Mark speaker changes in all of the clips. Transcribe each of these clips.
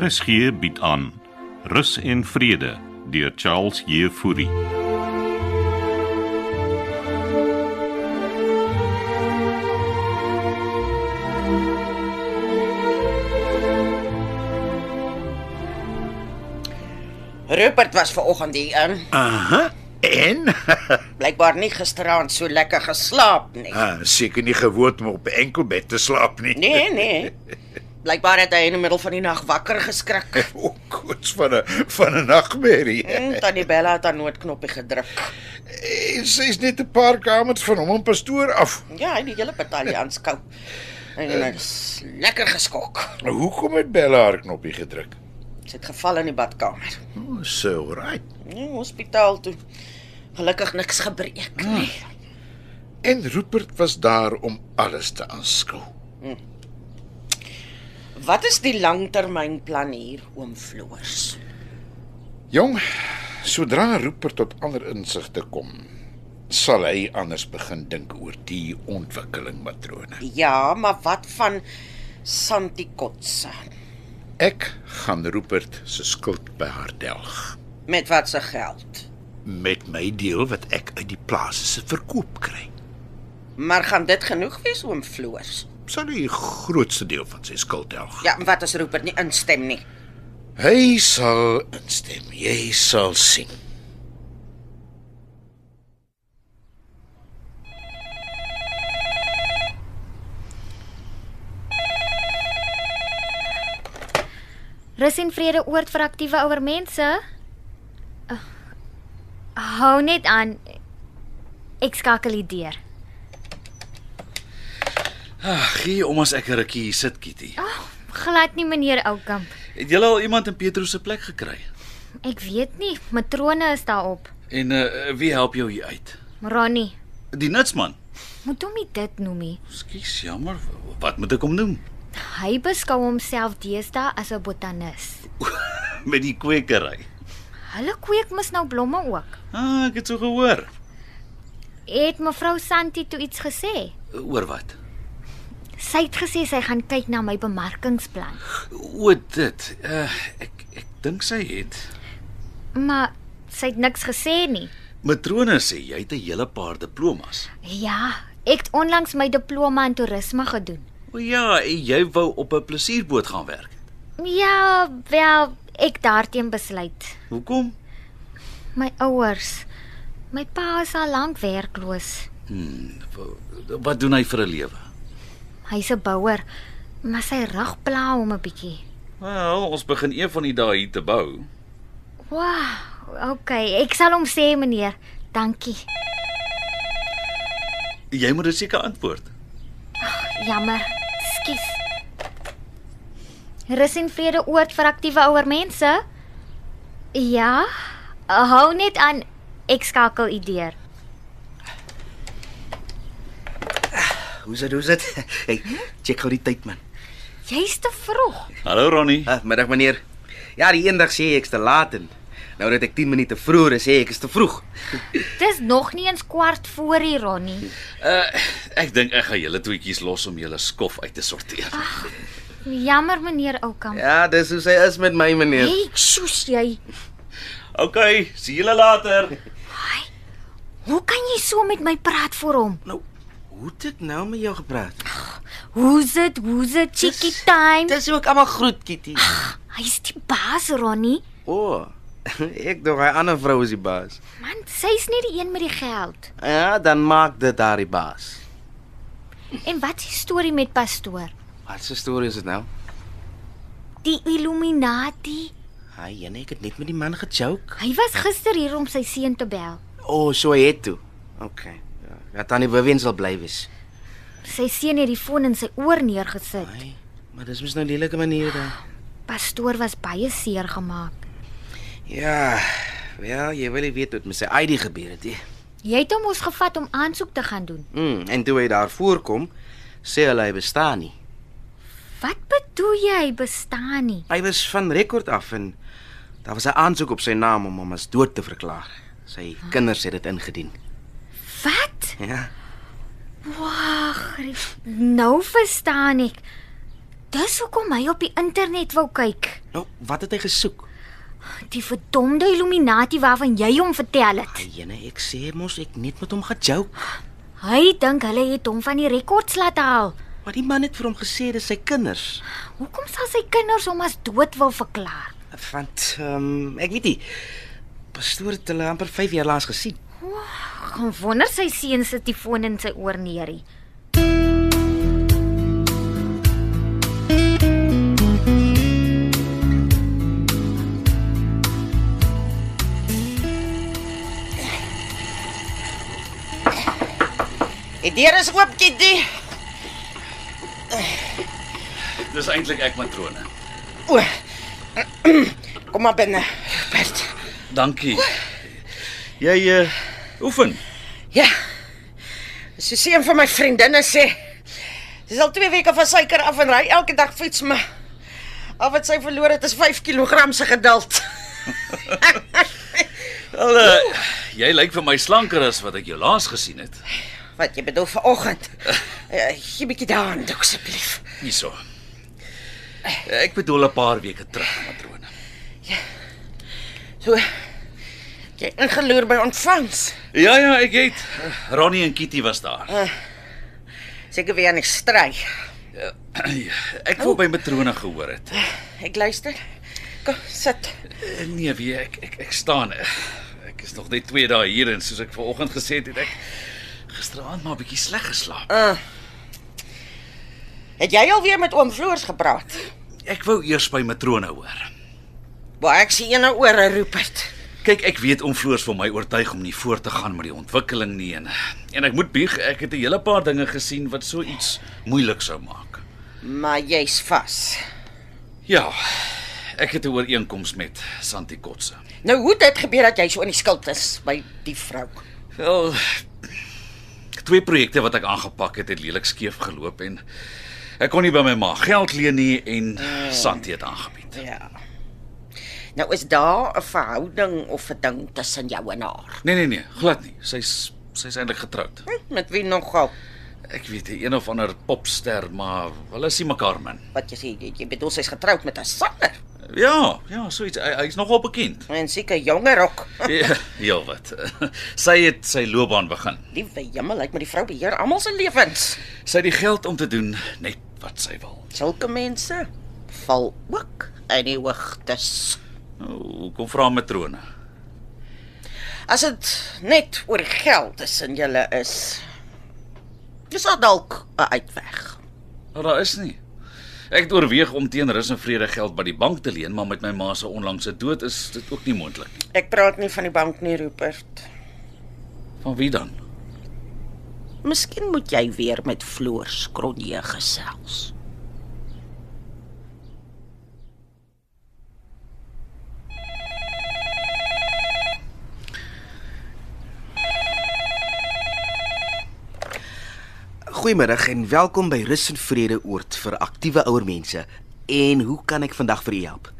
Speaker 1: RSG bied aan Rus en Vrede deur Charles Jefouri.
Speaker 2: Rupert was vanoggend hier in.
Speaker 3: Aha. En
Speaker 2: Blykbaar nie gisteraand so lekker geslaap nie.
Speaker 3: ah, seker nie gewoond om op 'n enkelbed te slaap nie.
Speaker 2: Nee, nee. Blykbaar het hy in die middel van die nag wakker geskrik.
Speaker 3: O, koets van 'n van 'n nagmerrie.
Speaker 2: En tannie Bella het haar noodknoppie gedruk.
Speaker 3: En Sy's Eh, net 'n paar kamers van hom en pastoor af.
Speaker 2: Ja, hy het die hele batalje aanskou. En hy is lekker geskok.
Speaker 3: Nou, Hoekom het Bella haar knoppie gedruk?
Speaker 2: Sy het geval in die badkamer.
Speaker 3: Oh, so right.
Speaker 2: Nee, hospitaal toe. Gelukkig niks gebreek nie.
Speaker 3: En Rupert was daar om alles te aanskou.
Speaker 2: Wat is die langtermynplan hier, oom Floors?
Speaker 3: Jong, sodra Rupert tot ander insigte kom, sal hy anders begin dink oor die ontwikkeling matrone.
Speaker 2: Ja, maar wat van Santi Kotse?
Speaker 3: Ek gaan Rupert se skuld by haar delg.
Speaker 2: Met wat se geld?
Speaker 3: met my deel wat ek uit die plaas se verkoop kry.
Speaker 2: Maar gaan dit genoeg wees oom Floors?
Speaker 3: Sal hy die grootste deel van sy skuld delg.
Speaker 2: Ja, en wat as Rupert nie instem nie?
Speaker 3: Hy sal instem. Jy sal sien.
Speaker 4: Rus en vrede oord vir aktiewe ouer mense. Ag, Hou net aan. Ek skakel die deur.
Speaker 5: Ag, gee om as ek 'n rukkie hier sit, Kitty.
Speaker 4: Glad nie meneer Oukamp.
Speaker 5: Het jy al iemand in Petrus se plek gekry?
Speaker 4: Ek weet nie, matrone is daarop.
Speaker 5: En uh, wie help jou hier uit?
Speaker 4: Ronnie,
Speaker 5: Die nutsman.
Speaker 4: moet hom nie dit noem nie.
Speaker 5: Skus, jammer. Wat moet ek hom noem?
Speaker 4: Hy beskou homself deesdae as 'n botanis.
Speaker 5: Met die kwekery.
Speaker 4: Hulle kweek mos nou blomme ook.
Speaker 5: Ah, ek het so gehoor.
Speaker 4: Het mevrou Santi toe iets gesê?
Speaker 5: Oor wat?
Speaker 4: Sy het gesê sy gaan kyk na my bemarkingsplan.
Speaker 5: O, dit. Uh, ek ek dink sy het.
Speaker 4: Maar sy het niks gesê nie.
Speaker 5: Matrone sê jy het 'n hele paar diplomas.
Speaker 4: Ja, ek het onlangs my diploma in toerisme gedoen.
Speaker 5: O ja, en jy wou op 'n plesierboot gaan werk.
Speaker 4: Ja, wel, ek daarteen besluit.
Speaker 5: Hoekom?
Speaker 4: My ouers. My pa is al lank werkloos.
Speaker 5: Hm, wa- wat doen hy vir 'n lewe?
Speaker 4: Hy's 'n bouer, maar sy rug pla hom 'n bietjie.
Speaker 5: Wel, ons begin een van die dae hier te bou.
Speaker 4: Wow, okay, ek sal hom sê, meneer. Dankie.
Speaker 5: Jy moet dit seker antwoord.
Speaker 4: Jammer. Skus. Rus en vrede oord vir aktiewe ouer mense. Ja, hou net aan. Ek skakel u deur.
Speaker 6: Hoe's dit? Hoe's dit? Hey, check gou die tyd man.
Speaker 4: Jy's te vroeg.
Speaker 5: Hallo Ronnie.
Speaker 6: Ah, middag meneer. Ja, die eendag sê ek's te laat en nou dat ek 10 minute vroeër is, sê ek is te vroeg.
Speaker 4: Dis nog nie eens kwart voor hier, Ronnie.
Speaker 5: Uh, ek dink ek gaan julle toetjies los om julle skof uit te sorteer.
Speaker 4: Jammer meneer Oukamp.
Speaker 6: Ja, dis hoe sy is met my meneer.
Speaker 4: Hey, sjoes jy.
Speaker 5: OK, sien julle later.
Speaker 4: Hoe kan jy so met my praat vir hom?
Speaker 6: Nou, hoe het ek nou met jou gepraat?
Speaker 4: Hoe's dit? Hoe's dit? Chicky time.
Speaker 6: Dis ook almal groet, Kitty.
Speaker 4: Hy's die baas, Ronnie.
Speaker 6: O, oh, ek dink hy ander vrou is die baas.
Speaker 4: Man, sy's nie die een met die geld.
Speaker 6: Ja, dan maak dit haar die baas.
Speaker 4: En wat is die storie met pastoor?
Speaker 6: Wat 'n storie is dit nou?
Speaker 4: Die Illuminati.
Speaker 6: Hy, Jenne, ek het net met die man gejoke.
Speaker 4: Hy was gister hier om sy seun te bel.
Speaker 6: O, oh, so hy het toe. OK. Ja, ja tannie Vivian sal bly wees.
Speaker 4: Sy seun het die foon in sy oor neergesit.
Speaker 6: Ai, maar dis mos nou 'n lelike manier dan.
Speaker 4: Pastoor was baie seer gemaak.
Speaker 6: Ja, wel, jy wil nie weet wat met sy ID gebeur het nie.
Speaker 4: Jy het hom ons gevat om aansoek te gaan doen.
Speaker 6: Mm, en toe hy daar voorkom, sê hulle hy bestaan nie.
Speaker 4: Wat bedoel jy hy bestaan nie?
Speaker 6: Hy was van rekord af en daar was 'n aansoek op sy naam om hom as dood te verklaar. Sy kinders het dit ingedien.
Speaker 4: Wat?
Speaker 6: Ja.
Speaker 4: Wag, nou verstaan ek. Dis hoekom hy op die internet wou kyk.
Speaker 6: Nou, wat het hy gesoek?
Speaker 4: Die verdomde Illuminati waarvan jy hom vertel het.
Speaker 6: Jene, ek sê mos ek net met hom gejoke.
Speaker 4: Hy dink hulle het hom van die rekords laat haal.
Speaker 6: Maar die man het vir hom gesê dis sy kinders.
Speaker 4: Hoekom sal sy kinders hom as dood wil verklaar?
Speaker 6: Want ehm um, ek weet nie. Pastoor het hulle amper 5 jaar laas gesien.
Speaker 4: Gaan wonder sy seun sit die foon in sy oor neerie.
Speaker 2: Die deur is oop, Kitty.
Speaker 5: Dis eintlik ek matrone.
Speaker 2: O. Kom maar binne. Bert.
Speaker 5: Dankie. Jy uh oefen.
Speaker 2: Ja. Soos een van my vriendinne sê, sy is al 2 weke van suiker af en ry elke dag fiets, maar al wat sy verloor het is 5 kg se geduld.
Speaker 5: Wel, uh, jy lyk vir my slanker as wat ek jou laas gesien het.
Speaker 2: Wat jy bedoel vanoggend. Eh, Gee 'n bietjie daaraan, dok asseblief.
Speaker 5: Hierso. Ek bedoel 'n paar weke terug, matrone.
Speaker 2: So jy ingeloer by ontvangs.
Speaker 5: Ja ja, ek het Eh. Ronnie en Kitty was daar.
Speaker 2: Seker weer aan die stry.
Speaker 5: Ek wou by matrone gehoor het.
Speaker 2: Ek luister. Kom, sit.
Speaker 5: Eh, Nee, wie ek ek ek staan. eh, Ek is nog net 2 dae hier en soos ek vanoggend gesê het, het ek gisteraand maar 'n bietjie sleg geslaap.
Speaker 2: Het jy al weer met oom Floors gepraat?
Speaker 5: Ek wou eers by matrone hoor.
Speaker 2: Waar ek sien eene ore Rupert.
Speaker 5: Kyk, ek weet om Floors vir my oortuig om nie voort te gaan met die ontwikkeling nie en en ek moet bieg, ek het 'n hele paar dinge gesien wat so iets moeilik sou maak.
Speaker 2: Maar jy's vas.
Speaker 5: Ja. Ek het 'n ooreenkoms met Santi Kotse.
Speaker 2: Nou hoe het dit gebeur dat jy so in die skuld is by die vrou?
Speaker 5: Wel twee projekte wat ek aangepak het, het lelik skeef geloop en ek kon nie by my ma geld leen nie en Santi het aangebied.
Speaker 2: Ja. Nou is daar 'n verhouding of 'n ding tussen jou en haar.
Speaker 5: Nee nee nee, glad nie. Sy's sy's eintlik getroud.
Speaker 2: Hm, Met wie nogal?
Speaker 5: Ek weet hy een of ander popster, maar hulle is nie mekaar min.
Speaker 2: Wat jy sê, jy- jy bedoel sy's getroud met 'n sanger
Speaker 5: Ja, ja, so iets. Hy, hy's nogal bekend.
Speaker 2: en seker jonger ook.
Speaker 5: Ja, heel wat. Sy het sy loopbaan begin.
Speaker 2: Liewe jemmel, lyk my die vrou beheer almal se lewens.
Speaker 5: Sy het die geld om te doen net wat sy wil.
Speaker 2: Sulke mense val ook uit die hoogtes.
Speaker 5: Nou, hoekom vra matrone?
Speaker 2: As dit net oor geld tussen julle is, is daar dalk 'n uitweg.
Speaker 5: Nou, daar is nie. Ek het oorweeg om teen rus en vrede geld by die bank te leen, maar met my ma se onlangse dood is dit ook nie moontlik nie.
Speaker 2: Ek praat nie van die bank nie, Rupert.
Speaker 5: Van wie dan?
Speaker 2: Miskien moet jy weer met Floors Kronje gesels.
Speaker 6: Goeiemiddag en welkom by Rus en Vrede Oord vir aktiewe ouer mense. En hoe kan ek vandag vir u help?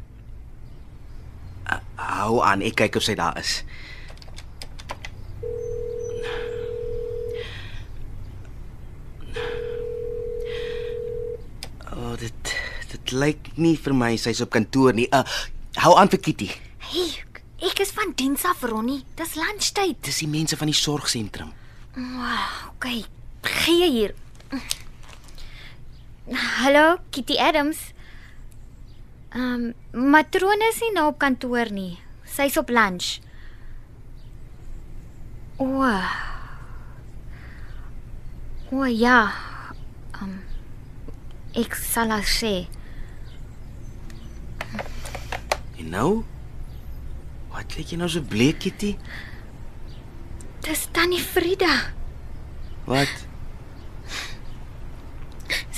Speaker 6: Uh, hou aan, ek kyk of sy daar is. O, oh, dit dit lyk nie vir my sy's op kantoor nie. Uh, hou aan vir Kitty.
Speaker 4: Hey, ek- ek is van diens af, Ronnie. Dis lunchtyd.
Speaker 6: Dis die mense van die sorgsentrum.
Speaker 4: Okay, gee hier. Hallo, Kitty Adams. Ehm, um, matrone is nie nou op kantoor nie. Sy's op lunch. O. O ja. Ehm um, ek sal haar sê.
Speaker 6: En nou? Wat lyk jy nou so bleek, Kitty?
Speaker 4: Dis tannie Frida.
Speaker 6: Wat?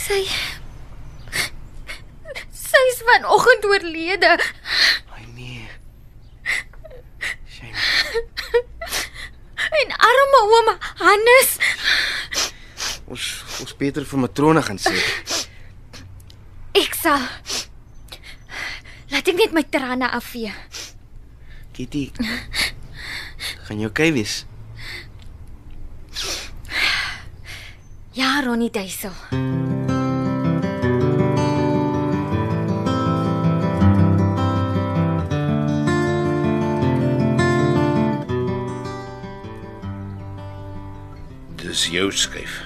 Speaker 4: Sy Sy's vanoggend oorlede.
Speaker 6: Ai nee. Shame.
Speaker 4: En arme oom Hannes,
Speaker 6: Ons ons beter vir matrone gaan sê.
Speaker 4: ek sal Laat ek net my trane afvee.
Speaker 6: Kitty. Gaan jy okay wees?
Speaker 4: Ja, Ronnie Duisel.
Speaker 3: Dis jou skuif.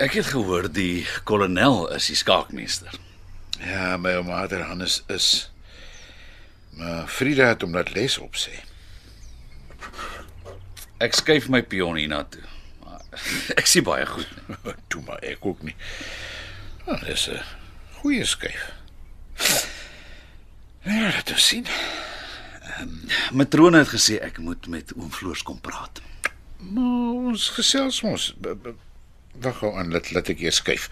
Speaker 5: Ek het gehoor die kolonel is die skaakmeester.
Speaker 3: Ja, my ouma Adder Hannes is maar Frida het hom laat les op sê.
Speaker 5: Ek skuif my pion hiernatoe. Maar Ek sien baie goed. nie.
Speaker 3: Toe maar ek ook nie. Nou, dis 'n goeie skuif. Ja, laat ons sien.
Speaker 5: Matrone het gesê ek moet met oom Floors kom praat.
Speaker 3: Maar Nou, ons gesels mos. B- b- Wag gou aan, laat laat ek eers skuif.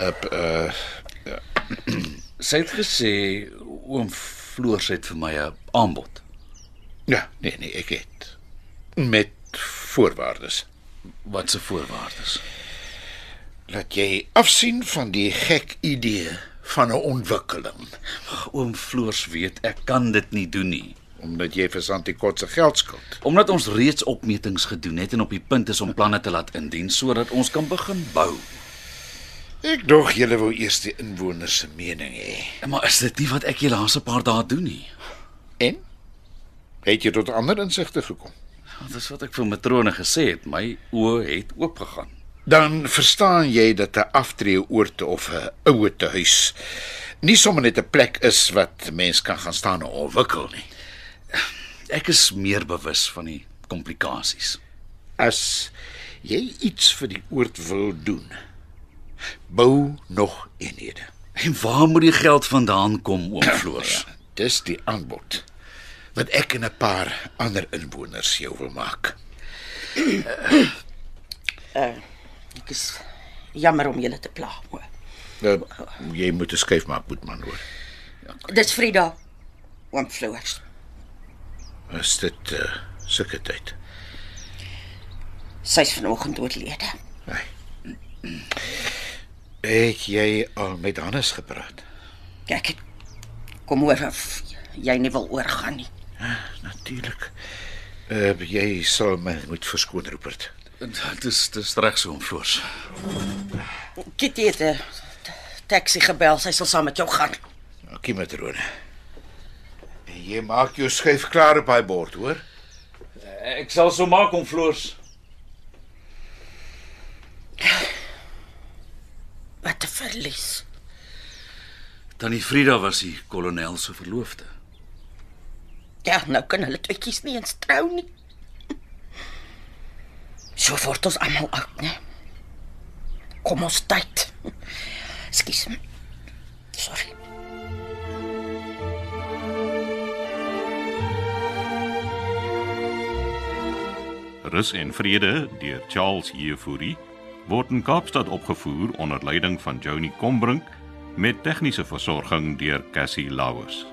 Speaker 3: Op uh
Speaker 5: Sy het gesê oom Floors het vir my 'n aanbod.
Speaker 3: ja, nee nee, ek het met voorwaardes.
Speaker 5: Wat se voorwaardes?
Speaker 3: Laat jy afsien van die gek idee van 'n ontwikkeling
Speaker 5: Oom Floors weet ek kan dit nie doen nie.
Speaker 3: omdat jy vir Santikot se geld skuld.
Speaker 5: Omdat ons reeds opmetings gedoen het en op die punt is om planne te laat indien sodat ons kan begin bou.
Speaker 3: Ek dog julle wou eers die inwoners se mening hê.
Speaker 5: Maar is dit nie wat ek julle laaste paar dae doen nie?
Speaker 3: En het jy tot ander insigte gekom?
Speaker 5: Want dis wat ek vir matrone gesê het, my oë het oopgegaan.
Speaker 3: Dan verstaan jy dat 'n aftree oorte of 'n ouer te huis nie sommer net 'n plek is wat mens kan gaan staan en ontwikkel nie.
Speaker 5: Ek is meer bewus van die komplikasies.
Speaker 3: As jy iets vir die oord wil doen, bou nog eenhede.
Speaker 5: En waar moet die geld vandaan kom, oom Floors?
Speaker 3: Dis die aanbod wat ek en 'n paar ander inwoners jou wil maak.
Speaker 2: Ek is jammer om julle te pla. hoor.
Speaker 3: Nou, jy moet 'n skuif maak, Boetman hoor.
Speaker 2: Dis Frida. Oom Floors.
Speaker 3: Is dit uh, sulke tyd?
Speaker 2: Sy's vanoggend oorlede.
Speaker 3: Het jy al met Hannes gepraat?
Speaker 2: Ek het kom hoor of jy nie wil oorgaan nie.
Speaker 3: Natuurlik. Uh, jy sal my moet verskoon, Rupert.
Speaker 5: Ja, Dit is dis reg so, oom Floors.
Speaker 2: Kitty het 'n t- taxi gebel. Sy sal saam met jou gaan.
Speaker 3: Dankie, matrone. er En jy maak jou skuif klaar op daai bord, hoor?
Speaker 5: Ek sal so maak, oom Floors.
Speaker 2: Wat 'n verlies.
Speaker 5: Tannie Frida was die kolonel se verloofde.
Speaker 2: Ja, nou kan hulle tweetjies nie eens trou nie. So word ons almal oud, né? Kom ons tyd. Ekskuus. Sorry.
Speaker 1: Rus en Vrede deur Charles Jefouri word in Kaapstad opgevoer onder leiding van Johnny Combrink met tegniese versorging deur Cassie Lauers.